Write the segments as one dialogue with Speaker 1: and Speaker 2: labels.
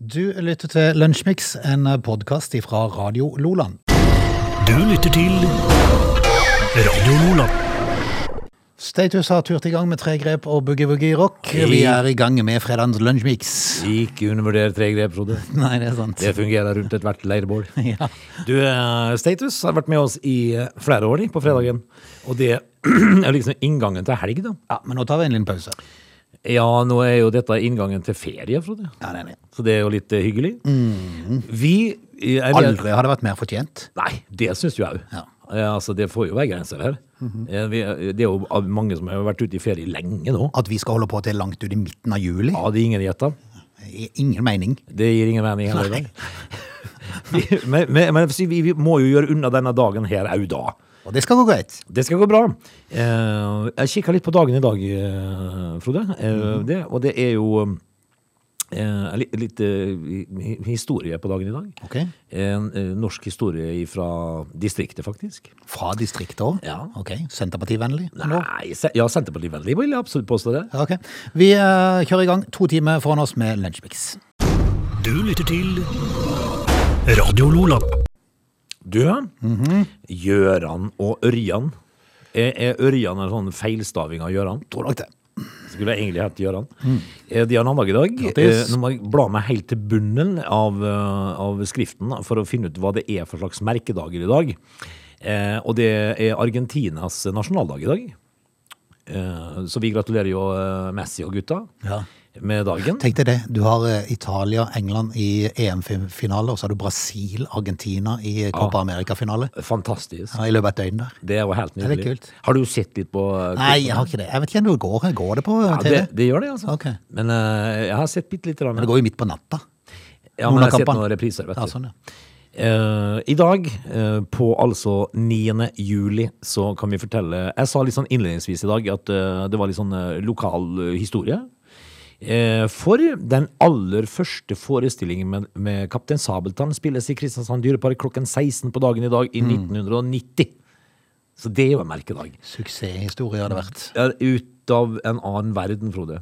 Speaker 1: Du lytter til Lunsjmix, en podkast fra Radio Loland.
Speaker 2: Du lytter til Radio Lola.
Speaker 1: Status har turt i gang med tre grep og boogie-woogie-rock. Vi er i gang med fredagens Lunsjmix.
Speaker 3: Ikke undervurder tre grep, Frode.
Speaker 1: Nei, det er sant.
Speaker 3: Det fungerer rundt ethvert leirbål.
Speaker 1: Ja.
Speaker 3: Du, eh, Status har vært med oss i eh, flere år de, på fredagen. Og det er liksom inngangen til helg, da.
Speaker 1: ja, Men nå tar vi en liten pause.
Speaker 3: Ja, nå er jo dette inngangen til ferie, Frode.
Speaker 1: Ja, det er det.
Speaker 3: Så det er jo litt eh, hyggelig. Vi eh, er med-
Speaker 1: Aldri har det vært mer fortjent.
Speaker 3: Nei, det syns jeg òg.
Speaker 1: Ja.
Speaker 3: Altså, det får jo være grenser her. Eh, vi, det er jo av- mange som har vært ute i ferie lenge nå.
Speaker 1: At vi skal holde på til langt ut i midten av juli.
Speaker 3: Ja, det er ingen gjetta.
Speaker 1: I- Ingen mening.
Speaker 3: Det gir ingen mening heller. i dag. men men, men si, vi, vi må jo gjøre unna denne dagen her òg, da.
Speaker 1: Og det skal gå greit.
Speaker 3: Det skal gå bra. Eh, jeg kikka litt på dagen i dag, eh, Frode. Eh,
Speaker 1: Mhm.
Speaker 3: det, og det er jo eh, litt, litt eh, hi- historie på dagen i dag.
Speaker 1: Ok.
Speaker 3: En eh, norsk historie fra distriktet, faktisk.
Speaker 1: Fra distriktet òg?
Speaker 3: Ja.
Speaker 1: Ok. Senterpartivennlig? nå?
Speaker 3: Nei, se, ja, Senterpartivennlig vil jeg absolutt påstå det.
Speaker 1: Ja, Ok. Vi eh, kjører i gang. To timer foran oss med Lunsjmix.
Speaker 2: Du lytter til Radio Lola.
Speaker 3: Du, ja.
Speaker 1: Mhm.
Speaker 3: Gjøran og Ørjan. Er, er Ørjan en sånn feilstaving av Gjøran?
Speaker 1: Tror nok det.
Speaker 3: Skulle jeg egentlig hett Gjøran.
Speaker 1: Mm.
Speaker 3: Eh, De har navndag i dag.
Speaker 1: Grattis.
Speaker 3: Eh, Nå må jeg bla meg helt til bunnen av, eh, av skriften da, for å finne ut hva det er for slags merkedager i dag. Eh, og det er Argentinas nasjonaldag i dag. Eh, så vi gratulerer jo eh, Messi og gutta
Speaker 1: Ja.
Speaker 3: med dagen.
Speaker 1: Tenk deg det. Du har eh, Italia, England i EM-finale, og så har du Brasil, Argentina i Copa America-finale.
Speaker 3: Fantastisk.
Speaker 1: Ja, I løpet av et døgn der.
Speaker 3: Det er jo helt
Speaker 1: er litt
Speaker 3: nydelig.
Speaker 1: kult.
Speaker 3: Har du sett litt på eh,
Speaker 1: Nei, jeg har ikke det. Jeg vet ikke om det går. Går det på
Speaker 3: Ja,
Speaker 1: TV?
Speaker 3: det, det gjør det, altså.
Speaker 1: Ok.
Speaker 3: Men eh, jeg har sett bitte lite grann.
Speaker 1: Men det går jo midt på natta.
Speaker 3: Ja, men jeg har sett
Speaker 1: kampene.
Speaker 3: noen repriser, vet du.
Speaker 1: Ja, sånn, ja.
Speaker 3: Eh, I dag, eh, på altså 9. juli, så kan vi fortelle Jeg sa litt sånn innledningsvis i dag at eh, det var litt sånn eh, lokal eh, historie. Eh, for den aller første forestillingen med, med Kaptein Sabeltann spilles i Kristiansand Dyrepark klokken 16 på dagen i dag i 1990. Så det er jo en merkedag.
Speaker 1: Suksesshistorie har det vært.
Speaker 3: Ja, Ut av en annen verden, Frode.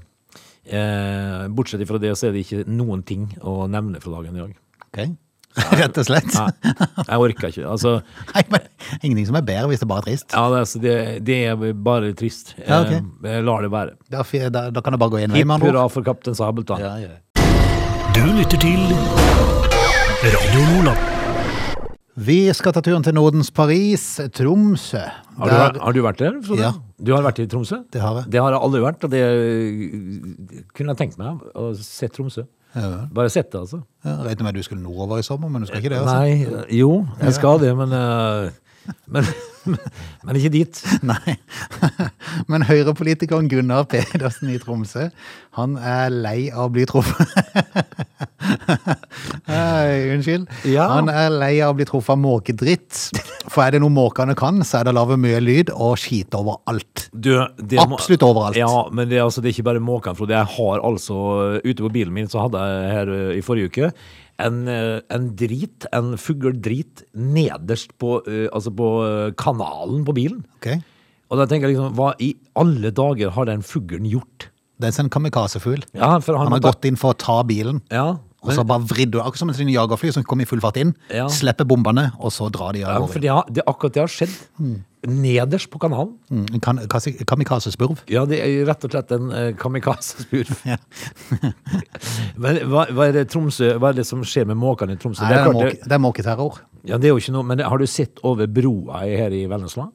Speaker 3: Eh, bortsett fra det, så er det ikke noen ting å nevne fra dagen i dag.
Speaker 1: Ok? Rett og slett.
Speaker 3: Nei, jeg orker ikke. Altså,
Speaker 1: Nei, men ingenting som er bedre hvis det bare er trist.
Speaker 3: ja, det, altså, det, det er bare trist.
Speaker 1: Ja, ok.
Speaker 3: Eh, jeg lar det være.
Speaker 1: Da, fi- da, da kan det bare gå én vei,
Speaker 3: Hipp
Speaker 1: med andre
Speaker 3: hurra
Speaker 1: ord.
Speaker 3: for kaptein Sabeltann.
Speaker 1: Ja, ja.
Speaker 2: Du lytter til Radio Lola.
Speaker 1: Vi skal ta turen til Nordens Paris, Tromsø.
Speaker 3: Har, du,
Speaker 1: Der-
Speaker 3: vært- har du vært der, Frode?
Speaker 1: Ja.
Speaker 3: Du har vært i Tromsø?
Speaker 1: Det har jeg.
Speaker 3: Det har jeg aldri vært, og det eh, kunne jeg tenkt meg å se Tromsø.
Speaker 1: Ja.
Speaker 3: Bare sett det, altså.
Speaker 1: Ja, Regnet med at du skulle nordover i sommer, men du skal ikke det? altså.
Speaker 3: Nei, jo, jeg skal det, men eh, men, men ikke dit.
Speaker 1: Nei. Men Høyre-politikeren Gunnar Pedersen i Tromsø, han er lei av å bli truffet. Nei, Unnskyld.
Speaker 3: Ja.
Speaker 1: Han er lei av å bli truffet av måkedritt. For er det noe måkene kan, så er det å lage mye lyd og skite over alt.
Speaker 3: Du, det må-
Speaker 1: Absolutt overalt.
Speaker 3: Ja, men det, er altså, det er ikke bare måkene, Frode. Jeg har altså Ute på bilen min så hadde jeg her ø, i forrige uke en, ø, en drit, en fugledrit, nederst på, ø, altså på ø, kanalen på bilen.
Speaker 1: Ok?
Speaker 3: Og da tenker jeg liksom, hva i alle dager har den fuglen gjort?
Speaker 1: Det er en sånn kamikazefugl.
Speaker 3: Ja, for han,
Speaker 1: Han har
Speaker 3: måtte-
Speaker 1: gått inn for å ta bilen.
Speaker 3: Ja,
Speaker 1: Og så bare vridde du, akkurat som en sånn jagerfly som kom i full fart inn.
Speaker 3: Ja.
Speaker 1: Slipper bombene, og så drar de
Speaker 3: ja
Speaker 1: av
Speaker 3: for
Speaker 1: gårde.
Speaker 3: det, har- det, akkurat det har skjedd. Nederst på kanalen.
Speaker 1: Mm, kan- kasi- Kamikazespurv.
Speaker 3: Ja, det er rett og slett en eh, kamikaze-spurv. Men hva, hva, er det Tromsø, hva er det som skjer med måkene i Tromsø?
Speaker 1: Nei,
Speaker 3: Det er klart
Speaker 1: måke-
Speaker 3: det-
Speaker 1: det er måketerror.
Speaker 3: Ja, det er jo ikke noe, men har du sett over broa her i Vennesla?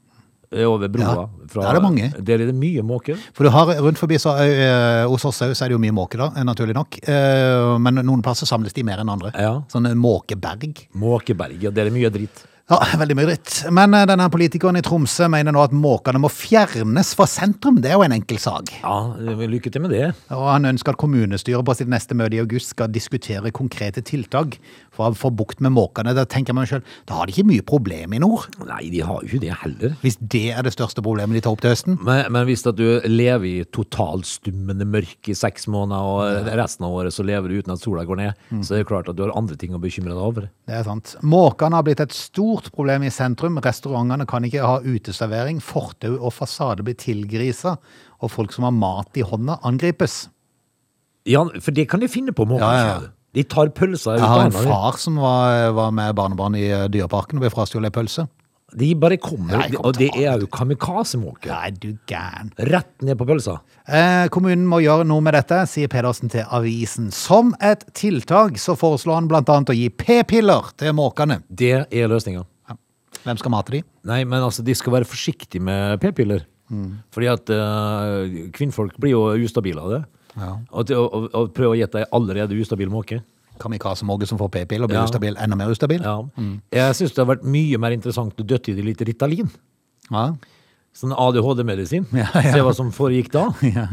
Speaker 3: Eh, Over broa.
Speaker 1: Ja, der er det mange.
Speaker 3: Der er det mye måker.
Speaker 1: For du har rundt forbi så, eh, Hos oss også er det jo mye måke, da, eh, naturlig nok. Eh, men noen plasser samles de mer enn andre.
Speaker 3: Ja.
Speaker 1: Sånn en måkeberg.
Speaker 3: Måkeberget, der er mye dritt.
Speaker 1: Ja, veldig mye dritt. Men eh, denne politikeren i Tromsø mener nå at måkene må fjernes fra sentrum. Det er jo en enkel sak.
Speaker 3: Ja, eh, lykke til med det.
Speaker 1: Og han ønsker at kommunestyret på sitt neste møte i august skal diskutere konkrete tiltak for å få bukt med måkene. Da tenker jeg meg selv, da har de ikke mye problem i nord.
Speaker 3: Nei, de har jo ikke det heller.
Speaker 1: Hvis det er det største problemet de tar opp til høsten.
Speaker 3: Men, men hvis at du lever i totalstummende mørke i seks måneder, og resten av året så lever du uten at sola går ned,
Speaker 1: Mm.
Speaker 3: så er det klart at du har andre ting å bekymre deg over.
Speaker 1: Det er sant. Måkene har blitt et stort problem i sentrum. Restaurantene kan ikke ha uteservering. Fortau og fasade blir tilgrisa. Og folk som har mat i hånda, angripes.
Speaker 3: Ja, for det kan de finne på måkene.
Speaker 1: Ja, ja, ja.
Speaker 3: selv. De tar pølser ut
Speaker 1: Jeg
Speaker 3: av
Speaker 1: har en
Speaker 3: hendene.
Speaker 1: far som var, var med barnebarn i eh, dyreparken og ble frastjålet ei pølse.
Speaker 3: De bare kommer,
Speaker 1: Nei, kom
Speaker 3: og det
Speaker 1: til
Speaker 3: er jo kamikazemåke.
Speaker 1: Nei, du gæren.
Speaker 3: Rett ned på pølsa.
Speaker 1: Eh, kommunen må gjøre noe med dette, sier Pedersen til avisen. Som et tiltak så foreslår han blant annet å gi p-piller til måkene.
Speaker 3: Det er løsninga.
Speaker 1: Ja. Hvem skal mate de?
Speaker 3: Nei, men altså, de skal være forsiktige med p-piller. Fordi at eh, kvinnfolk blir jo ustabile av det.
Speaker 1: Ja.
Speaker 3: Og, det- og, og prøve å gjette ei allerede ustabil måke.
Speaker 1: Kamikaze-Måge som får p-piller, blir
Speaker 3: Ja.
Speaker 1: ustabil, enda mer ustabil?
Speaker 3: Ja. Jeg syns det har vært mye mer interessant å døtte i det litt Ritalin.
Speaker 1: Ja.
Speaker 3: Sånn ADHD-medisin.
Speaker 1: Ja, ja.
Speaker 3: Se hva som foregikk da,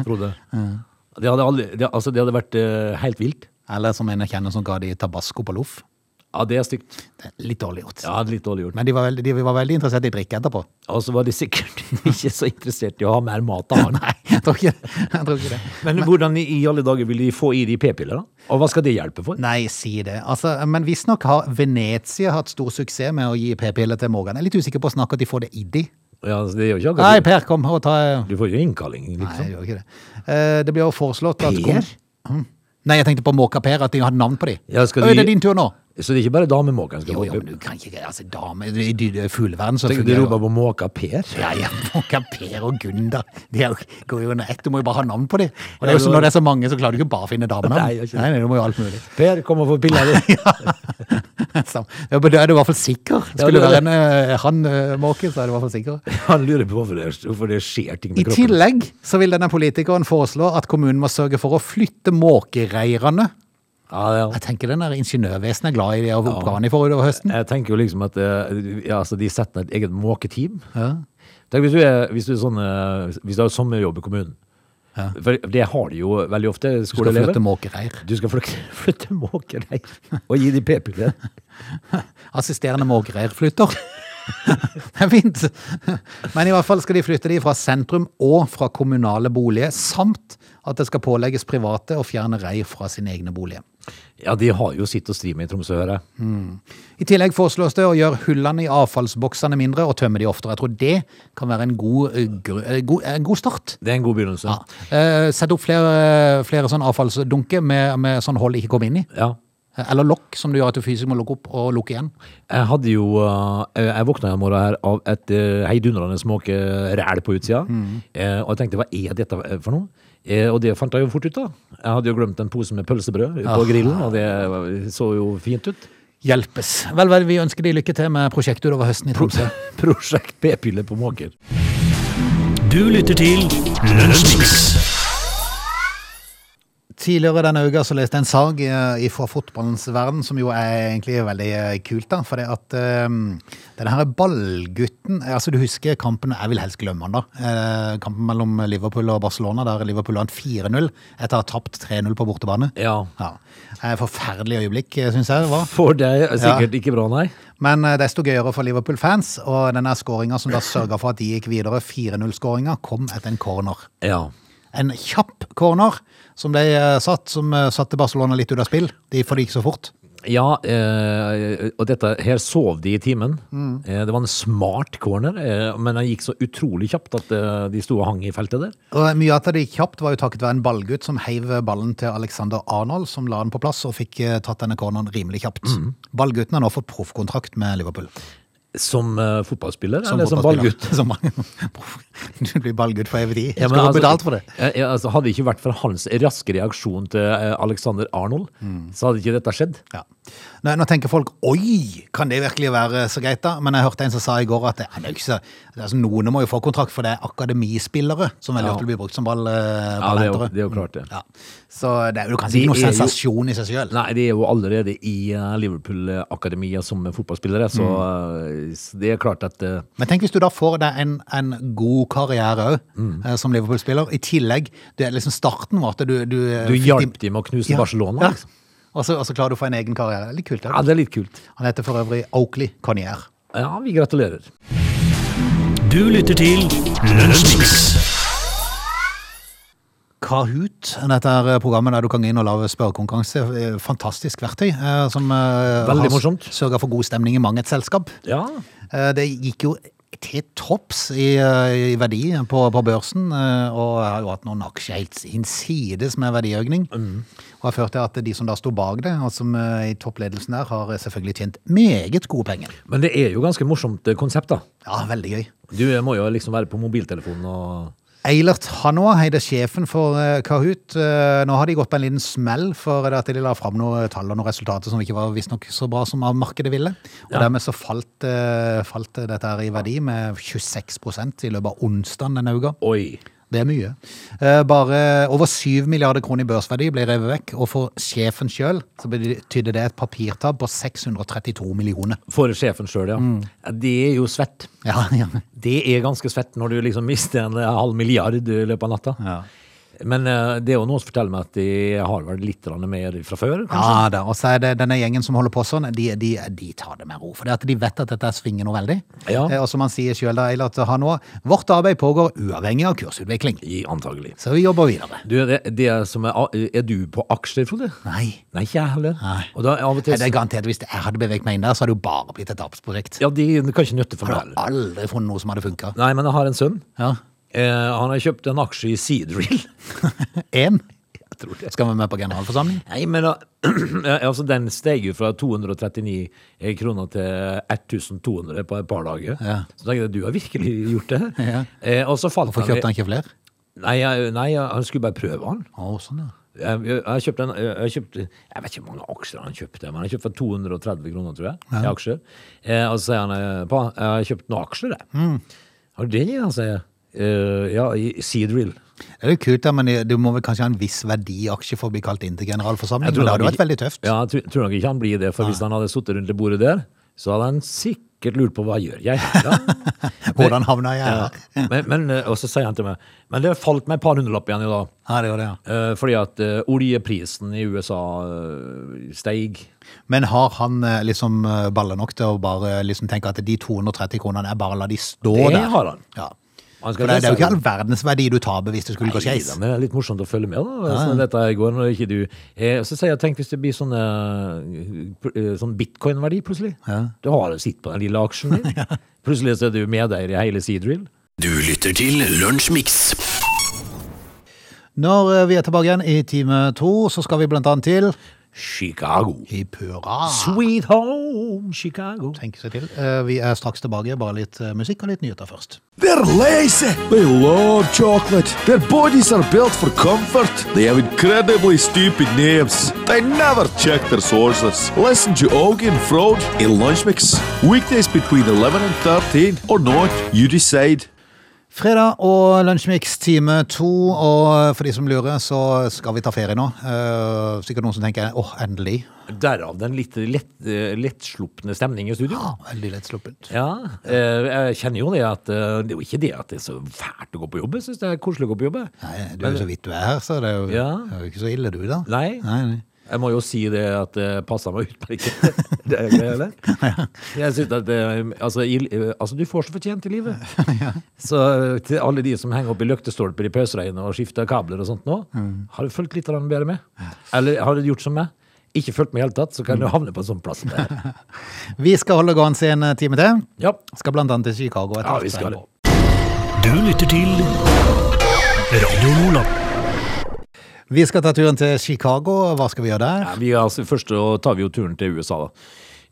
Speaker 3: Frode. Det, hadde aldri, det, altså, det hadde vært eh, helt vilt.
Speaker 1: Eller som en jeg kjenner som ga de tabasco på loff.
Speaker 3: Ja, det er stygt.
Speaker 1: Det er Litt dårlig gjort.
Speaker 3: Ja, litt dårlig gjort.
Speaker 1: Men de var, veldig, de var veldig interessert i drikke etterpå.
Speaker 3: Og så var de sikkert ikke så interessert i å ha mer mat av han.
Speaker 1: Nei, jeg tror ikke, jeg tror ikke det.
Speaker 3: Men hvordan i i alle dager vil de få i de p-piller, da? Og hva skal det hjelpe for?
Speaker 1: Nei, si det. Altså, men visstnok har Venezia hatt stor suksess med å gi p-piller til Morgan. Jeg er litt usikker på å snakke at de får det i de.
Speaker 3: Ja, altså, det er jo ikke
Speaker 1: Nei,
Speaker 3: akkurat
Speaker 1: Per, kom og ta eh,
Speaker 3: Du får jo innkalling,
Speaker 1: Nei,
Speaker 3: liksom.
Speaker 1: jeg gjør ikke det. Eh, Det blir jo foreslått at
Speaker 3: Per?
Speaker 1: Mm. Nei, jeg tenkte på Måka Per, at de hadde navn på dem.
Speaker 3: Ja, skal
Speaker 1: Øy, det
Speaker 3: du
Speaker 1: er
Speaker 3: gi-
Speaker 1: din tur nå!
Speaker 3: Så det er ikke bare damemåken skal
Speaker 1: Jo,
Speaker 3: få
Speaker 1: jo,
Speaker 3: i
Speaker 1: men
Speaker 3: p-
Speaker 1: du kan ikke altså, dame, I dy- dy- fugleverden så
Speaker 3: Tenk, Du
Speaker 1: fungerer
Speaker 3: roper
Speaker 1: jo
Speaker 3: på måka Per?
Speaker 1: ja, ja, Måka Per og Gunda. De er jo, går jo under ett. Du må jo bare ha navn på dem. Og det
Speaker 3: Ja,
Speaker 1: er jo
Speaker 3: du
Speaker 1: sånn,
Speaker 3: har-
Speaker 1: når det er så mange, så klarer du ikke bare å finne damenavn.
Speaker 3: Nei, jeg gjør ikke det.
Speaker 1: nei, du må jo alt mulig.
Speaker 3: Per, kom og få pilla di.
Speaker 1: Sam- Ja, men da er du i hvert fall sikker. Skulle
Speaker 3: det
Speaker 1: det være
Speaker 3: er det.
Speaker 1: en eh, han eh, måke, så er du i hvert fall sikker.
Speaker 3: Han lurer på hvorfor det, hvorfor det skjer ting
Speaker 1: I
Speaker 3: med kroppen.
Speaker 1: tillegg så vil denne politikeren foreslå at kommunen må sørge for å flytte måkereirene.
Speaker 3: Ja, ja.
Speaker 1: Jeg tenker den der ingeniørvesenet er glad i de oppgavene de får utover høsten.
Speaker 3: Jeg tenker jo liksom at eh, ja, altså, de setter ned et eget måketeam.
Speaker 1: Ja.
Speaker 3: Tenk hvis du, er, hvis, du er sånn, eh, hvis du har sommerjobb i kommunen. For det har de jo veldig ofte,
Speaker 1: Du skal
Speaker 3: skoleelever.
Speaker 1: flytte måkereir.
Speaker 3: Du skal flytte, flytte måker, nei. Og gi de p-piller.
Speaker 1: Assisterende måkereirflytter. Det er fint. Men i hvert fall skal de flytte de fra sentrum og fra kommunale boliger, samt at det skal pålegges private å fjerne reir fra sine egne boliger.
Speaker 3: Ja, de har jo sitt å stri med i Tromsø, hører jeg.
Speaker 1: I tillegg foreslås det å gjøre hullene i avfallsboksene mindre og tømme de oftere. Jeg tror det kan være en god, eh, gru- eh, god, eh, en god start.
Speaker 3: Det er en god begynnelse.
Speaker 1: Ja. Eh, Sett opp flere, flere sånn avfallsdunker med, med sånn hold ikke kommer inn i. Eh,
Speaker 3: Ja.
Speaker 1: Eller lokk, som du gjør at du fysisk må lukke opp og lukke igjen.
Speaker 3: Jeg hadde jo uh, Jeg våkna en morgen her av et uh, heidundrende måkeræl på utsida. Eh, og jeg tenkte hva er dette for noe? Eh, og det fant jeg jo fort ut, da. Jeg hadde jo glemt en pose med pølsebrød på grillen, og det var- så jo fint ut.
Speaker 1: Hjelpes. Vel, vel, vi ønsker de lykke til med prosjektet utover høsten i Tromsø.
Speaker 3: Prosjekt p-piller på måker.
Speaker 2: Du lytter til Lunsjmix.
Speaker 1: Tidligere denne uka så leste jeg en sag eh, fra fotballens verden, som jo er egentlig veldig eh, kult, da. For det at eh, denne her ballgutten eh, Altså, du husker kampen Jeg vil helst glemme den, da. Eh, Kampen mellom Liverpool og Barcelona, der Liverpool vant 4-0 etter å ha tapt 3-0 på bortebane.
Speaker 3: Ja.
Speaker 1: Ja. Eh, Forferdelig øyeblikk, syns jeg det var.
Speaker 3: For det er sikkert ikke bra, nei.
Speaker 1: Men eh, desto gøyere for Liverpool-fans. Og denne skåringa som da sørga for at de gikk videre, 4-0-skåringa, kom etter en corner.
Speaker 3: Ja.
Speaker 1: En kjapp corner som de eh, satt, som eh, satte Barcelona litt ut av spill. De for det gikk så fort.
Speaker 3: Ja, eh, og dette her sov de i timen. Eh, det var en smart corner, eh, men den gikk så utrolig kjapt at eh, de sto og hang i feltet der.
Speaker 1: Og eh, Mye av at det gikk kjapt, var jo takket være en ballgutt som heiv ballen til Alexander Arnold, som la den på plass og fikk eh, tatt denne corneren rimelig kjapt.
Speaker 3: Mhm.
Speaker 1: Ballgutten har nå fått proffkontrakt med Liverpool.
Speaker 3: Som eh, fotballspiller, eller som
Speaker 1: fotballspiller.
Speaker 3: ballgutt?
Speaker 1: Som ball- du blir ballgutt for evig tid. Skal du betalt for det?
Speaker 3: eh, ja, altså, hadde det ikke vært for hans raske reaksjon til eh, Alexander Arnold,
Speaker 1: Mm.
Speaker 3: så hadde ikke dette skjedd.
Speaker 1: Ja. Nå, nå tenker folk oi, kan det virkelig være så greit, da? Men jeg hørte en som sa i går at det, det er jo ikke så, altså, noen må jo få kontrakt, for det er akademispillere som veldig
Speaker 3: Ja.
Speaker 1: ofte blir brukt som ball, eh,
Speaker 3: Ja, det er jo,
Speaker 1: ballentere.
Speaker 3: det er jo klart, det.
Speaker 1: Mm. Ja. Så det er jo kanskje
Speaker 3: De
Speaker 1: ikke noe
Speaker 3: er jo-
Speaker 1: sensasjon i seg sjøl.
Speaker 3: Nei, de er jo allerede i eh, Liverpool-akademia som fotballspillere, så,
Speaker 1: Mm.
Speaker 3: eh, så det er klart at eh,
Speaker 1: Men tenk hvis du da får deg en, en god karriere òg,
Speaker 3: Mm.
Speaker 1: som Liverpool-spiller. I tillegg, det er liksom starten var at du Du, eh,
Speaker 3: du hjalp dem med å knuse
Speaker 1: Ja,
Speaker 3: Barcelona.
Speaker 1: ja.
Speaker 3: liksom.
Speaker 1: Og så, og så klarer du å få en egen karriere. Litt kult.
Speaker 3: Ja,
Speaker 1: da.
Speaker 3: det er litt kult.
Speaker 1: Han heter for øvrig Oakley Connier.
Speaker 3: Ja, vi gratulerer.
Speaker 2: Du lytter til Lunsjmix.
Speaker 1: Kahoot, dette er eh, programmet der du kan gå inn og lage spørrekonkurranse. Fantastisk verktøy eh, som eh,
Speaker 3: Veldig
Speaker 1: har s-
Speaker 3: morsomt.
Speaker 1: sørger for god stemning i mang et selskap.
Speaker 3: Ja,
Speaker 1: Eh, Det gikk jo til topps i, eh, i verdi på, på børsen, eh, og har jo hatt noen aksjer helt hinsides med verdiøkning.
Speaker 3: Mm.
Speaker 1: Og har ført til at de som da sto bak det, og som eh, i toppledelsen der, har eh, selvfølgelig tjent meget gode penger.
Speaker 3: Men det er jo ganske morsomt eh, konsept, da.
Speaker 1: Ja, veldig gøy.
Speaker 3: Du eh, må jo liksom være på mobiltelefonen og
Speaker 1: Eilert Hanoa, heide sjefen for eh, Kahoot. Eh, Nå har de gått på en liten smell for det at de la fram noen tall og noen resultater som ikke var visstnok så bra som av markedet ville. Og dermed så falt, eh, falt dette her i verdi med 26 i løpet av onsdagen denne uka.
Speaker 3: Oi!
Speaker 1: Det er mye. Eh, Bare over 7 milliarder kroner i børsverdi ble revet vekk, og for sjefen sjøl så betydde det et papirtap på 632 millioner.
Speaker 3: For sjefen sjøl, ja.
Speaker 1: Mm.
Speaker 3: Ja, Det er jo svett.
Speaker 1: Ja, ja.
Speaker 3: Det er ganske svett når du liksom mister en eh, halv milliard i løpet av natta.
Speaker 1: Ja.
Speaker 3: Men eh, det er jo noen som forteller meg at de har vel litt grann mer fra før. kanskje?
Speaker 1: Ja da, og så er det denne gjengen som holder på sånn, de, de, de tar det med ro. For det at de vet at dette svinger noe veldig.
Speaker 3: Ja.
Speaker 1: Eh, Og som han sier sjøl, Eilert Hanå, vårt arbeid pågår uavhengig av kursutvikling.
Speaker 3: I, antagelig.
Speaker 1: Så vi jobber videre.
Speaker 3: Du, det, det som er, eh, er du på aksjer, Frode?
Speaker 1: Nei.
Speaker 3: Nei, ikke jeg heller.
Speaker 1: Nei.
Speaker 3: Og da, av og til,
Speaker 1: Det er garantert, Hvis jeg hadde beveget meg inn der, så hadde det jo bare blitt et tapsprosjekt.
Speaker 3: ja, de kan ikke nytte for
Speaker 1: Jeg
Speaker 3: meg
Speaker 1: hadde
Speaker 3: heller.
Speaker 1: aldri funnet noe som hadde funka.
Speaker 3: Nei, men jeg har en sønn.
Speaker 1: Ja.
Speaker 3: Eh, han har kjøpt en aksje i Seadrill.
Speaker 1: En?
Speaker 3: Jeg tror det.
Speaker 1: Skal vi med på generalforsamling?
Speaker 3: Nei, men da, altså, den steg jo fra 239 eh, kroner til 1200 på et par dager.
Speaker 1: Ja.
Speaker 3: Så tenkte jeg, du har virkelig gjort det.
Speaker 1: Ja.
Speaker 3: Eh, og så falt
Speaker 1: Hvorfor kjøpte han ikke flere?
Speaker 3: Nei, jeg- nei, jeg- han skulle bare prøve han.
Speaker 1: Å, sånn, ja.
Speaker 3: Jeg, jeg, jeg, kjøpte en, jeg, jeg kjøpte Jeg vet ikke hvor mange aksjer han kjøpte, men han kjøpte for 230 kroner, tror jeg. I aksjer. Eh, og så sier han eh, pa, jeg har kjøpt noen aksjer, jeg.
Speaker 1: Mm.
Speaker 3: Har du det, han sier? Eh, ja, i Seadrill.
Speaker 1: Det er jo kult, da, men du må vel kanskje ha en viss verdi i aksje for å bli kalt inn til generalforsamling?
Speaker 3: Jeg
Speaker 1: Men
Speaker 3: tror
Speaker 1: det
Speaker 3: nok
Speaker 1: hadde vært
Speaker 3: ikke-
Speaker 1: veldig tøft.
Speaker 3: Ja, jeg tror, tror nok ikke han blir det, for hvis han hadde sittet rundt det bordet der, så hadde han sikkert lurt på hva gjør jeg her, da?
Speaker 1: Hvordan havna jeg
Speaker 3: ja.
Speaker 1: her?
Speaker 3: men, men, eh, og så sier han til meg Men det falt meg et par hundrelapp igjen i dag.
Speaker 1: Ja, det gjorde det, ja.
Speaker 3: eh, fordi at eh, oljeprisen i USA eh, steig.
Speaker 1: Men har han eh, liksom eh, baller nok til å bare eh, liksom tenke at de 230 kronene er bare å la de stå
Speaker 3: Det
Speaker 1: der?
Speaker 3: har han.
Speaker 1: Ja.
Speaker 3: Han skal
Speaker 1: For det, det er jo ikke
Speaker 3: lese-
Speaker 1: all verdens verdi du taper hvis det skulle gå
Speaker 3: Nei
Speaker 1: skeis.
Speaker 3: da, men det er litt morsomt å følge med da, sånn dette her går når ikke du eh, Så sier jeg, tenk hvis det blir sånn, eh, pr- eh, sånn bitcoin-verdi plutselig. Du har sitt på den lille aksjen din. Plutselig så er du medeier i hele Seadrill.
Speaker 2: Du lytter til Lunsjmix.
Speaker 1: Når eh, vi er tilbake igjen i time to, så skal vi blant annet til
Speaker 3: Chicago.
Speaker 1: I pura.
Speaker 3: Sweet home Chicago.
Speaker 1: Tenke seg til. Eh, Vi er straks tilbake, bare litt eh, musikk og litt nyheter først.
Speaker 4: They're lazy. They love chocolate. Their bodies are built for comfort. They have incredibly stupid names. They never check their sources. Listen to Augie and Frode in Lunch Mix. Weekdays between 11 and 13 or not, you decide.
Speaker 1: Fredag og Lunsjmix time to, og eh, for de som lurer, så skal vi ta ferie nå. Eh, Sikkert noen som tenker åh, endelig.
Speaker 3: Derav den litt lett, eh, lettslupne stemningen i studio.
Speaker 1: Ah, Veldig lett sluppent.
Speaker 3: Ja, eh, jeg kjenner jo det at eh, det er jo ikke det at det er så fælt å gå på jobb. Jeg syns det er koselig å gå på jobb. jeg.
Speaker 1: Nei, du er jo så vidt du er her, så det er jo,
Speaker 3: Ja.
Speaker 1: det er jo ikke så ille du, da.
Speaker 3: Nei.
Speaker 1: Nei, nei.
Speaker 3: Jeg må jo si det at det passer meg utmerket. Det er greit, eller? Jeg synes at det, altså, i, altså, du får så fortjent i livet. Så eh, til alle de som henger opp i løktestolper i pøsregnet og skifter kabler og sånt nå, har du fulgt litt grann bedre med? Eller har du gjort som meg? Ikke fulgt med i hele tatt, så kan du havne på en sånn plass. som det her.
Speaker 1: Vi skal holde gående en eh, time til.
Speaker 3: Ja,
Speaker 1: Skal blant annet til Chicago. etter
Speaker 3: ja
Speaker 1: hvert.
Speaker 3: vi skal det.
Speaker 2: Du lytter til Radio Nordland.
Speaker 1: Vi skal ta turen til Chicago. Hva skal vi gjøre der?
Speaker 3: Ja, vi, er altså, først så tar vi jo turen til USA, da.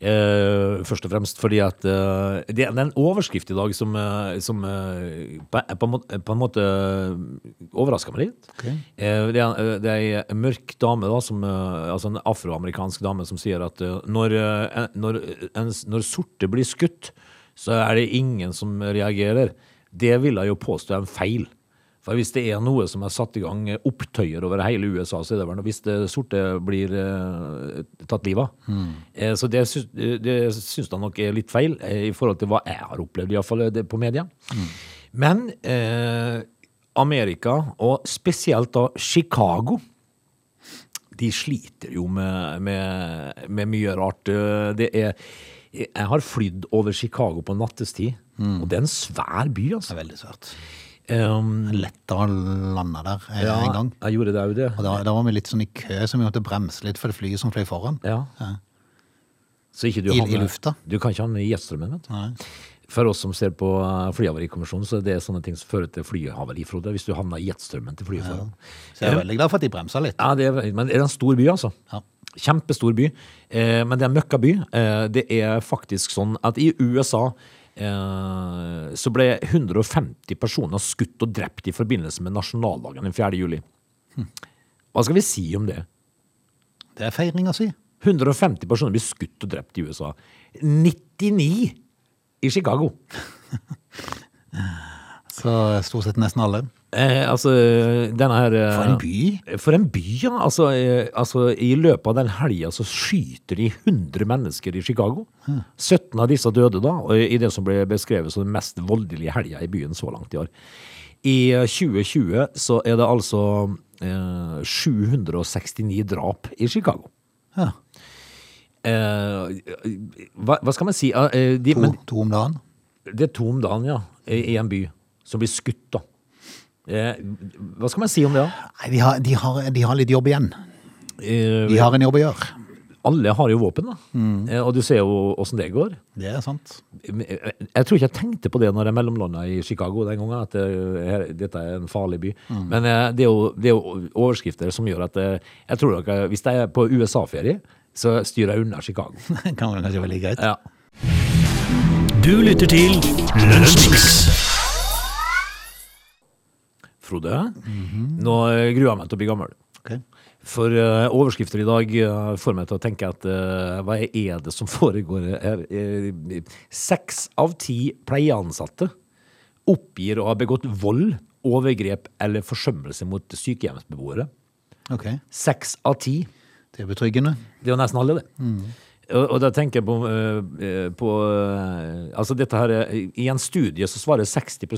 Speaker 3: Eh, først og fremst fordi at eh, det, det er en overskrift i dag som, eh, som eh, på, på, en måte, på en måte overrasker meg litt. Eh, det, er, eh, det er en mørk dame, da, som, eh, altså en afroamerikansk dame, som sier at eh, når, eh, en- når, en, når sorte blir skutt, så er det ingen som reagerer. Det vil jeg jo påstå er en feil. For hvis det er noe som er satt i gang eh, opptøyer over hele USA, så er det vel noe hvis det sorte blir eh, tatt livet av. Eh, så det, syns- eh, det syns jeg nok er litt feil eh, i forhold til hva jeg har opplevd, iallfall eh, på media. Men eh, Amerika, og spesielt da Chicago, de sliter jo med, med, med mye rart. Eh, Det er Jeg har flydd over Chicago på nattestid, og det er en svær by,
Speaker 1: Det
Speaker 3: altså.
Speaker 1: er veldig svært.
Speaker 3: Um,
Speaker 1: Lett å lande der eh,
Speaker 3: ja,
Speaker 1: en gang.
Speaker 3: Jeg gjorde det jo det.
Speaker 1: Og da, da var vi litt sånn i kø, så vi måtte bremse litt for det flyet som fløy foran.
Speaker 3: Ja. Så ikke du
Speaker 1: I- i
Speaker 3: havner-
Speaker 1: lufta.
Speaker 3: Du kan ikke ha den i jetstrømmen, vet du.
Speaker 1: Nei.
Speaker 3: For oss som ser på eh, Flyhavarikommisjonen, så er det sånne ting som fører til flyhavari, Frode. Hvis du havner i jetstrømmen til flyet foran.
Speaker 1: Så jeg er veldig glad for at de bremsa litt.
Speaker 3: Ja, det er, men det er en stor by, altså.
Speaker 1: Ja.
Speaker 3: Kjempestor by. Eh, men det er en møkkaby. Eh, det er faktisk sånn at i USA eh, så ble 150 personer skutt og drept i forbindelse med nasjonaldagen den 4. juli.
Speaker 1: Hm.
Speaker 3: Hva skal vi si om det?
Speaker 1: Det er feiringa si.
Speaker 3: 150 personer blir skutt og drept i USA. 99 i Chicago.
Speaker 1: Så stort sett nesten alle.
Speaker 3: Eh, altså, denne her eh,
Speaker 1: For en by.
Speaker 3: For en by, ja. Altså, eh, altså, I løpet av den helga så skyter de 100 mennesker i Chicago.
Speaker 1: Hm.
Speaker 3: 17 av disse døde da, og i det som ble beskrevet som den mest voldelige helga i byen så langt i år. I eh, 2020 så er det altså eh, 769 drap i Chicago.
Speaker 1: Ja,
Speaker 3: Eh, hva, hva skal man si? Eh, de,
Speaker 1: to,
Speaker 3: men,
Speaker 1: to om dagen.
Speaker 3: det er to om dagen, ja, i i en by som blir skutt, da. Eh, hva skal man si om det, da?
Speaker 1: Nei, de har, de, har, de har litt jobb igjen.
Speaker 3: Eh,
Speaker 1: De har en jobb å gjøre.
Speaker 3: alle har jo våpen, da. Eh, og du ser jo åssen det går.
Speaker 1: Det er sant.
Speaker 3: Jeg jeg tror ikke jeg tenkte på det når jeg mellomlanda i Chicago den gangen, at eh, her- dette er en farlig by. Men eh, det er, jo, det er jo overskrifter som gjør at eh, jeg tror dere, hvis jeg er på USA-ferie, så styrer jeg unna Chicago.
Speaker 1: Det kan være kanskje veldig greit.
Speaker 3: Ja.
Speaker 2: Du lytter til Lunsjmix.
Speaker 3: Frode, nå eh, gruer jeg meg til å bli gammel.
Speaker 1: Ok.
Speaker 3: For eh, overskrifter i dag eh, får meg til å tenke at eh, hva er det som foregår her? Eh, Seks av ti pleieansatte oppgir å ha begått vold, overgrep eller forsømmelse mot sykehjemsbeboere.
Speaker 1: ok.
Speaker 3: Seks av ti.
Speaker 1: Det er betryggende.
Speaker 3: Det er jo nesten alle, det. Og, og da tenker jeg på, eh, eh, på eh, Altså dette her eh, I en studie så svarer 60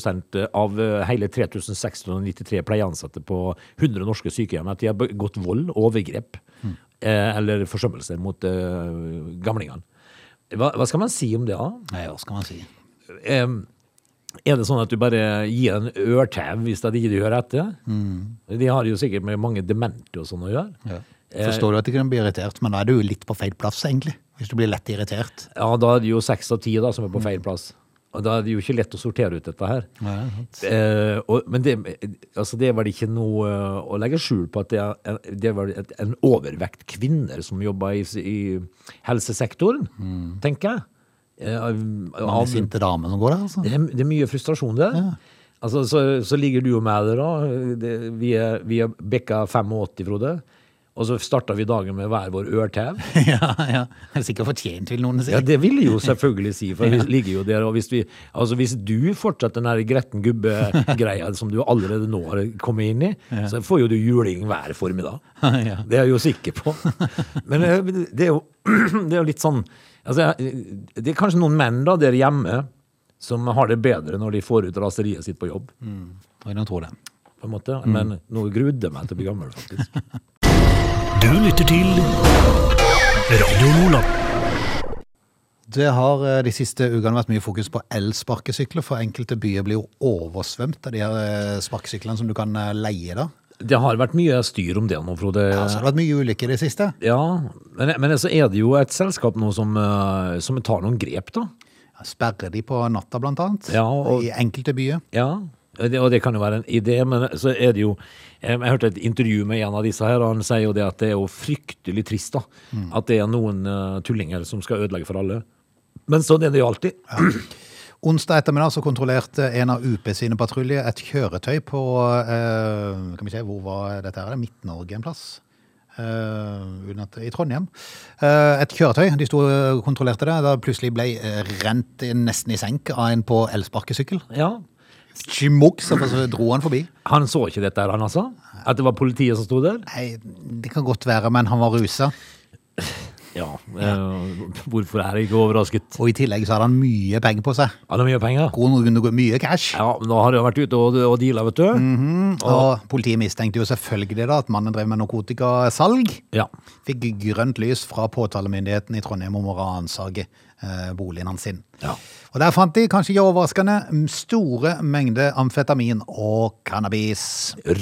Speaker 3: av eh, hele 3693 pleieansatte på 100 norske sykehjem at de har begått vold, overgrep eh, eller forsømmelse mot eh, gamlingene. Hva, hva skal man si om det, da?
Speaker 1: Nei, hva skal man si?
Speaker 3: Eh, er det sånn at du bare gir en ørtau hvis det er det du hører etter? De har jo sikkert med mange demente og sånn å gjøre.
Speaker 1: Forstår du at de kan bli irritert, men da er du jo litt på feil plass, egentlig. Hvis du blir lett irritert.
Speaker 3: Ja, da er det jo seks av ti da, som er på feil plass. Og da er det jo ikke lett å sortere ut dette her. Eh, og, men det, altså det var det ikke noe eh, å legge skjul på at det, er- eh, det var et, en overvekt kvinner som jobba i, i helsesektoren, tenker jeg. Eh, av-
Speaker 1: Mange
Speaker 3: av-
Speaker 1: sinte damer som går der, altså.
Speaker 3: det er, det er mye frustrasjon der. Altså, så, så ligger du og meg der, da. eh, Det, vi, er, vi er bekka 85, Frode. Og så starta vi dagen med hver vår ørtau.
Speaker 1: ja, ja. Det er sikkert fortjent, vil noen si.
Speaker 3: Ja, det vil jeg jo selvfølgelig si, for vi ligger jo der. Og hvis, vi, altså hvis du fortsetter den her gretten gubbe-greia som du allerede nå har kommet inn i, så får jo du juling hver formiddag.
Speaker 1: Ja.
Speaker 3: Det er jeg jo sikker på. Men eh, det er jo, det er jo litt sånn altså, jeg- Det er kanskje noen menn da der hjemme som har det bedre når de får ut raseriet sitt på jobb.
Speaker 1: Mm. Oi, nå tror jeg det.
Speaker 3: på en måte.
Speaker 1: Mm.
Speaker 3: Men nå grudde jeg meg til å bli gammel, faktisk.
Speaker 2: Du lytter til Radio Nordland.
Speaker 1: Det har eh, de siste ukene vært mye fokus på elsparkesykler, for enkelte byer blir jo oversvømt av de her eh, sparkesyklene som du kan eh, leie da.
Speaker 3: Det har vært mye styr om det nå, Frode.
Speaker 1: Ja, så har det vært mye ulykker i det siste.
Speaker 3: Ja, men, men så er det jo et selskap nå som, eh, som tar noen grep, da.
Speaker 1: Ja, Sperrer de på natta, blant annet,
Speaker 3: Ja, og-
Speaker 1: i enkelte byer.
Speaker 3: Ja, det, og det kan jo være en idé, men så er det jo eh, Jeg hørte et intervju med en av disse her, og han sier jo det at det er jo fryktelig trist, da. At det er noen eh, tullinger som skal ødelegge for alle. Men sånn er det jo alltid.
Speaker 1: Onsdag ettermiddag så kontrollerte en av UP sine patruljer et kjøretøy på eh, kan vi se, hvor var dette her? Midt-Norge en plass? Eh, uten at, I Trondheim. Eh, et kjøretøy. De sto og kontrollerte det. Da plutselig ble eh, rent nesten i senk av en på elsparkesykkel.
Speaker 3: Ja.
Speaker 1: Chimok, så så dro han forbi.
Speaker 3: Han så ikke dette, her, han altså? At det var politiet som sto der?
Speaker 1: Nei, det kan godt være, men han var rusa.
Speaker 3: Ja. eh, Hvorfor er jeg ikke overrasket?
Speaker 1: Og i tillegg så hadde han mye penger på seg.
Speaker 3: Han har mye penger.
Speaker 1: Kroner under mye cash.
Speaker 3: Ja, men da har jeg vært ute og, og deala, vet du.
Speaker 1: Og politiet mistenkte jo selvfølgelig da at mannen drev med narkotikasalg.
Speaker 3: Ja.
Speaker 1: Fikk grønt lys fra påtalemyndigheten i Trondheim om å ransake eh, boligen hans sin.
Speaker 3: Ja.
Speaker 1: Og der fant de, kanskje ikke overraskende, m, store mengder amfetamin og cannabis.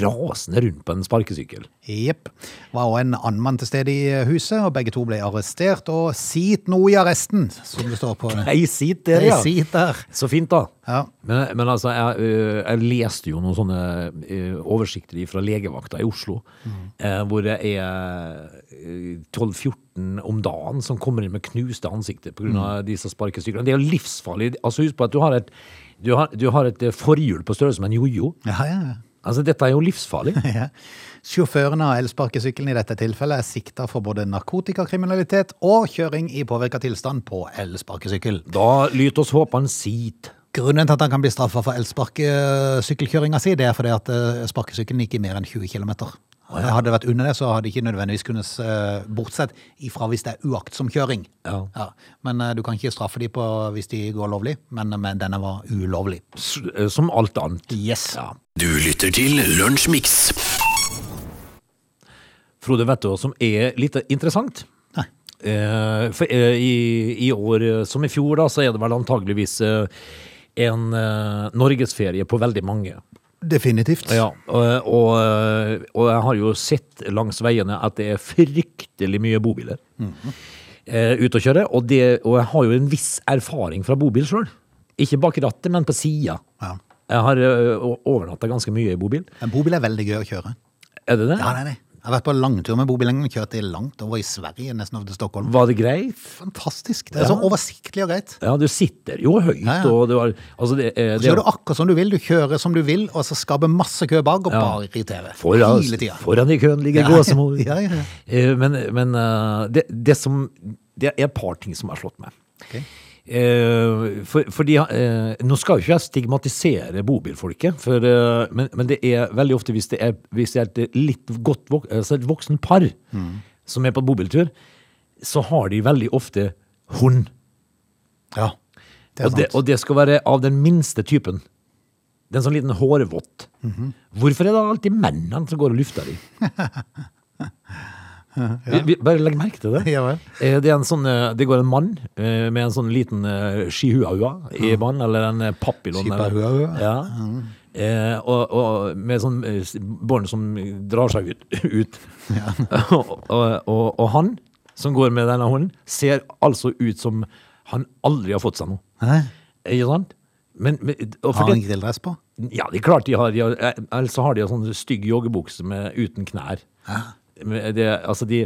Speaker 3: Rasende rundt på en sparkesykkel.
Speaker 1: Jepp. Var også en annen mann til stede i eh, huset, og begge to ble arre- arrestert, og sit nå i arresten, som det står på det.
Speaker 3: Ei sit der, ja.
Speaker 1: Ei sit der.
Speaker 3: Så fint, da.
Speaker 1: Ja.
Speaker 3: Men, men altså, jeg, øh, jeg leste jo noen sånne øh, oversikter fra legevakta i Oslo,
Speaker 1: Mm.
Speaker 3: eh, hvor det er øh, 12-14 om dagen som kommer inn med knuste ansikter pga.
Speaker 1: Mm.
Speaker 3: av de som sparker stykker. Det er jo livsfarlig. Altså, husk på at du har et, du har, du har et eh, forhjul på størrelse med en jojo.
Speaker 1: Ja, ja, ja.
Speaker 3: Altså, dette er jo livsfarlig.
Speaker 1: Ja. Sjåføren av elsparkesykkelen i dette tilfellet er sikta for både narkotikakriminalitet og kjøring i påvirka tilstand på elsparkesykkel.
Speaker 3: Da lyt oss håpe han sit.
Speaker 1: Grunnen til at han kan bli straffa for elsparkesykkelkjøringa si, det er fordi at eh, sparkesykkelen gikk i mer enn 20 km. Hadde det vært under det, så hadde det ikke nødvendigvis kunnet eh, Bortsett ifra hvis det er uaktsom kjøring.
Speaker 3: Ja.
Speaker 1: Men eh, du kan ikke straffe de på hvis de går lovlig, men, men denne var ulovlig.
Speaker 3: S- eh, Som alt annet.
Speaker 1: Yes.
Speaker 3: Ja.
Speaker 2: Du lytter til Lunsjmix.
Speaker 3: Frode, vet du hva som er litt interessant?
Speaker 1: Nei.
Speaker 3: Eh, for, eh, i, I år, eh, som i fjor, da, så er det vel antageligvis eh, en eh, norgesferie på veldig mange.
Speaker 1: Definitivt.
Speaker 3: Ja, og, og, eh, og jeg har jo sett langs veiene at det er fryktelig mye bobiler eh, ute å kjøre. Og, det, og jeg har jo en viss erfaring fra bobil sjøl. Ikke bak rattet, men på sida.
Speaker 1: Ja.
Speaker 3: Jeg har eh, overnatta ganske mye i bobil.
Speaker 1: En bobil er veldig gøy å kjøre.
Speaker 3: Er det det?
Speaker 1: Ja, det er det. Jeg har vært på langtur med bobilen og kjørt i langt over i Sverige, nesten over til Stockholm.
Speaker 3: Var det greit?
Speaker 1: Fantastisk. Det er så oversiktlig og greit.
Speaker 3: Ja, du sitter jo høyt,
Speaker 1: Ja, ja.
Speaker 3: og du har altså det, eh,
Speaker 1: Så
Speaker 3: det,
Speaker 1: gjør du akkurat som du vil, du kjører som du vil, og så skaper masse kø bak og bare irriterer.
Speaker 3: foran,
Speaker 1: Hele tida.
Speaker 3: foran i køen ligger
Speaker 1: Ja,
Speaker 3: gåsemor.
Speaker 1: ja, ja, ja.
Speaker 3: Eh, Men, men eh, det, det som Det er et par ting som har slått meg.
Speaker 1: Ok.
Speaker 3: Eh, For, fordi eh, Nå skal jo ikke jeg stigmatisere bobilfolket, for, eh, men, men det er veldig ofte hvis det er, hvis det er et litt godt vok, altså et voksen par
Speaker 1: Mm.
Speaker 3: som er på bobiltur, så har de veldig ofte hund.
Speaker 1: Ja, det er
Speaker 3: og, det,
Speaker 1: sant.
Speaker 3: og det skal være av den minste typen. Den sånn liten hårvått.
Speaker 1: Mhm.
Speaker 3: Hvorfor er det alltid mennene som går og lufter de? Vi, vi, bare legg merke til det.
Speaker 1: Ja vel.
Speaker 3: Eh, Det, er en sånn, eh, det går en mann eh, med en sånn liten eh, skihuahua i banen, eller en eh, papillon. eller-
Speaker 1: Skipahuahua. Mm.
Speaker 3: Ja. Eh, og, og med sånn eh, s- bånd som drar seg ut. ut. og, og, og, og han som går med denne hunden, ser altså ut som han aldri har fått seg noe.
Speaker 1: Hæ?
Speaker 3: Ikke sant? Men, men og
Speaker 1: Har han
Speaker 3: fordi,
Speaker 1: ikke til dress på?
Speaker 3: ja, det er klart de har, de har eh, Ellers så har de en sånn stygg joggebukse med- uten knær. Men Det, altså de,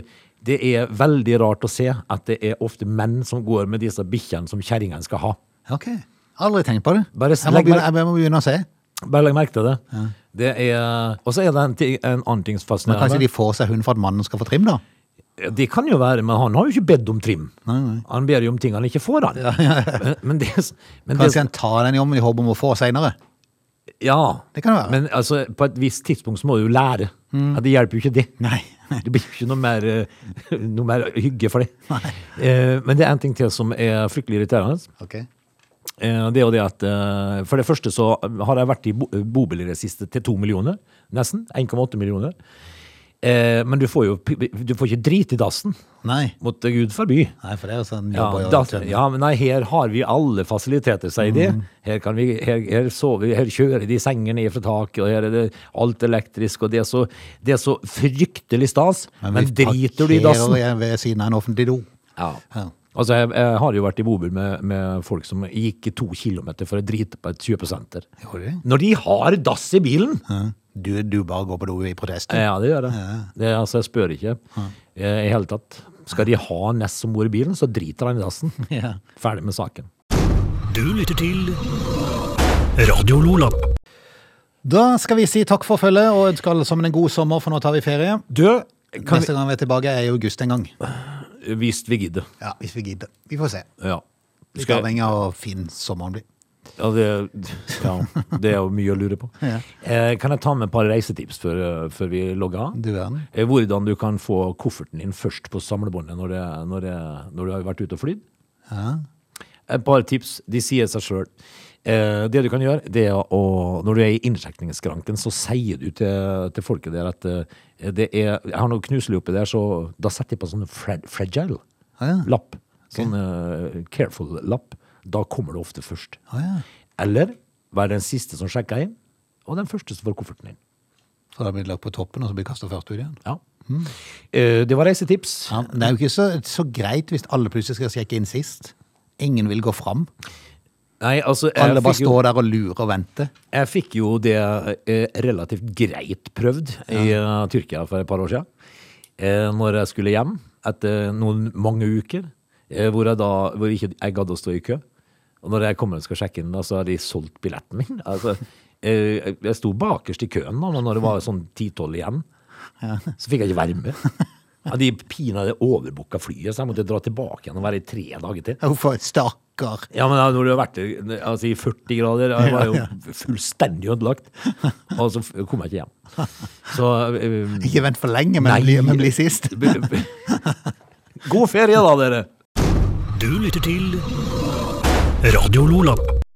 Speaker 3: det er veldig rart å se at det er ofte menn som går med disse bikkjene som kjerringene skal ha.
Speaker 1: Ok. Aldri tenkt på det.
Speaker 3: Bare
Speaker 1: jeg, må
Speaker 3: legg
Speaker 1: begynne,
Speaker 3: merke-
Speaker 1: jeg må begynne å se.
Speaker 3: Bare legg merke til det. det er, og så er det en, ting, en annen ting som
Speaker 1: Men kanskje
Speaker 3: fascinerer
Speaker 1: de får seg hund for at mannen skal få trim, da?
Speaker 3: meg. Det kan jo være, men han har jo ikke bedt om trim. Han ber jo om ting han ikke får, han. Men, men det, men det,
Speaker 1: Kanskje han tar den jobben i håp om å få seinere?
Speaker 3: Ja.
Speaker 1: Det kan det være. Mm.
Speaker 3: Men altså, på et visst tidspunkt så må du jo lære. Ja, det hjelper jo ikke det.
Speaker 1: Nei.
Speaker 3: Det blir jo ikke noe mer, eh, noe mer hygge for det. Eh, Men det er en ting til som er fryktelig irriterende.
Speaker 1: Ok.
Speaker 3: Eh, Det er jo det at eh, For det første så har jeg vært i bo- bobil i det siste til to millioner. Nesten. 1,8 millioner. Eh, Men du får jo p- du får ikke drit i dassen.
Speaker 1: Nei.
Speaker 3: Måtte Gud forby.
Speaker 1: Nei, for det er jo sånn
Speaker 3: Ja,
Speaker 1: jobber jo-
Speaker 3: da, ja, men nei, her har vi alle fasiliteter, sier de.
Speaker 1: Mm.
Speaker 3: Her, kan vi, her, her sover vi, her kjører de senger ned fra taket, og her er det alt elektrisk, og det er så, det er så fryktelig stas. Men,
Speaker 1: vi
Speaker 3: driter du i dassen?
Speaker 1: parkerer ved siden av en offentlig do.
Speaker 3: Ja.
Speaker 1: Ja.
Speaker 3: Altså, jeg, jeg har jo vært i bobil med, med folk som gikk to kilometer for å drite på et kjøpesenter.
Speaker 1: Gjorde de?
Speaker 3: Når de har dass i bilen!
Speaker 1: Ja. Du, du bare går på do i protest? du.
Speaker 3: Ja, det gjør jeg. Det, er- altså, jeg spør ikke eh, i hele tatt. Skal de ha Ness som bor i bilen, så driter han i dassen.
Speaker 1: Ja.
Speaker 3: Ferdig med saken.
Speaker 2: Du lytter til Radio Lola.
Speaker 1: Da skal vi si takk for følget og ønske alle sammen en god sommer, for nå tar vi ferie.
Speaker 3: Du, kan
Speaker 1: Neste gang vi er tilbake, er i august en gang.
Speaker 3: vi, hvis vi gidder.
Speaker 1: Ja, Hvis vi gidder. Vi får se.
Speaker 3: Ja.
Speaker 1: Litt
Speaker 3: Skal-
Speaker 1: avhengig av hvor fin sommeren blir.
Speaker 3: ja, det, ja, det er jo mye å lure på.
Speaker 1: Ja.
Speaker 3: Eh, kan jeg ta med et par reisetips før, eh, før vi logger av?
Speaker 1: Du verden.
Speaker 3: Eh, Hvordan du kan få kofferten din først på samlebåndet når, det, når, det, når du har vært ute og flydd. Et par tips. De sier seg sjøl. Eh, det du kan gjøre, det er å Når du er i innsjekningsskranken, så sier du til, til folket der at eh, det er Jeg har noe knuselig oppi der, så da setter jeg på sånn frag, fragile
Speaker 1: Ah, ja.
Speaker 3: lapp. Sånn eh, careful lapp. Da kommer det ofte først.
Speaker 1: Ah, ja.
Speaker 3: Eller vær den siste som sjekker inn, og den første som får kofferten inn.
Speaker 1: Så da blir det lagt på toppen, og så blir det kasta først ut igjen.
Speaker 3: Ja. Eh, Det var reisetips.
Speaker 1: Ja, men det er jo ikke så, så greit hvis alle plutselig skal sjekke inn sist. Ingen vil gå fram.
Speaker 3: Nei, altså, jeg
Speaker 1: Alle bare
Speaker 3: fikk, jo,
Speaker 1: står der og lurer og venter.
Speaker 3: jeg fikk jo det eh, relativt greit prøvd i eh, Tyrkia for et par år siden. Eh, Når jeg skulle hjem etter noen mange uker, eh, hvor jeg da hvor ikke jeg gadd å stå i kø. Og når jeg kommer og skal sjekke inn, da, så har de solgt billetten min. Altså, eh, jeg- jeg sto bakerst i køen da, men når det var sånn 10-12 igjen. Så fikk jeg ikke være med. Ja, de pinadø overbooka flyet, så jeg måtte dra tilbake igjen og være i tre dager til.
Speaker 1: Hvorfor? Stakkar.
Speaker 3: Ja, men da, når du har vært i- altså, i 40 grader Jeg var jo fullstendig ødelagt. Og så f- kom jeg ikke hjem. Så eh,
Speaker 1: Ikke vent for lenge, men
Speaker 3: Nei.
Speaker 1: bli, men bli sist.
Speaker 3: b- b- God ferie, da, dere!
Speaker 2: Du lytter til Radio Lola.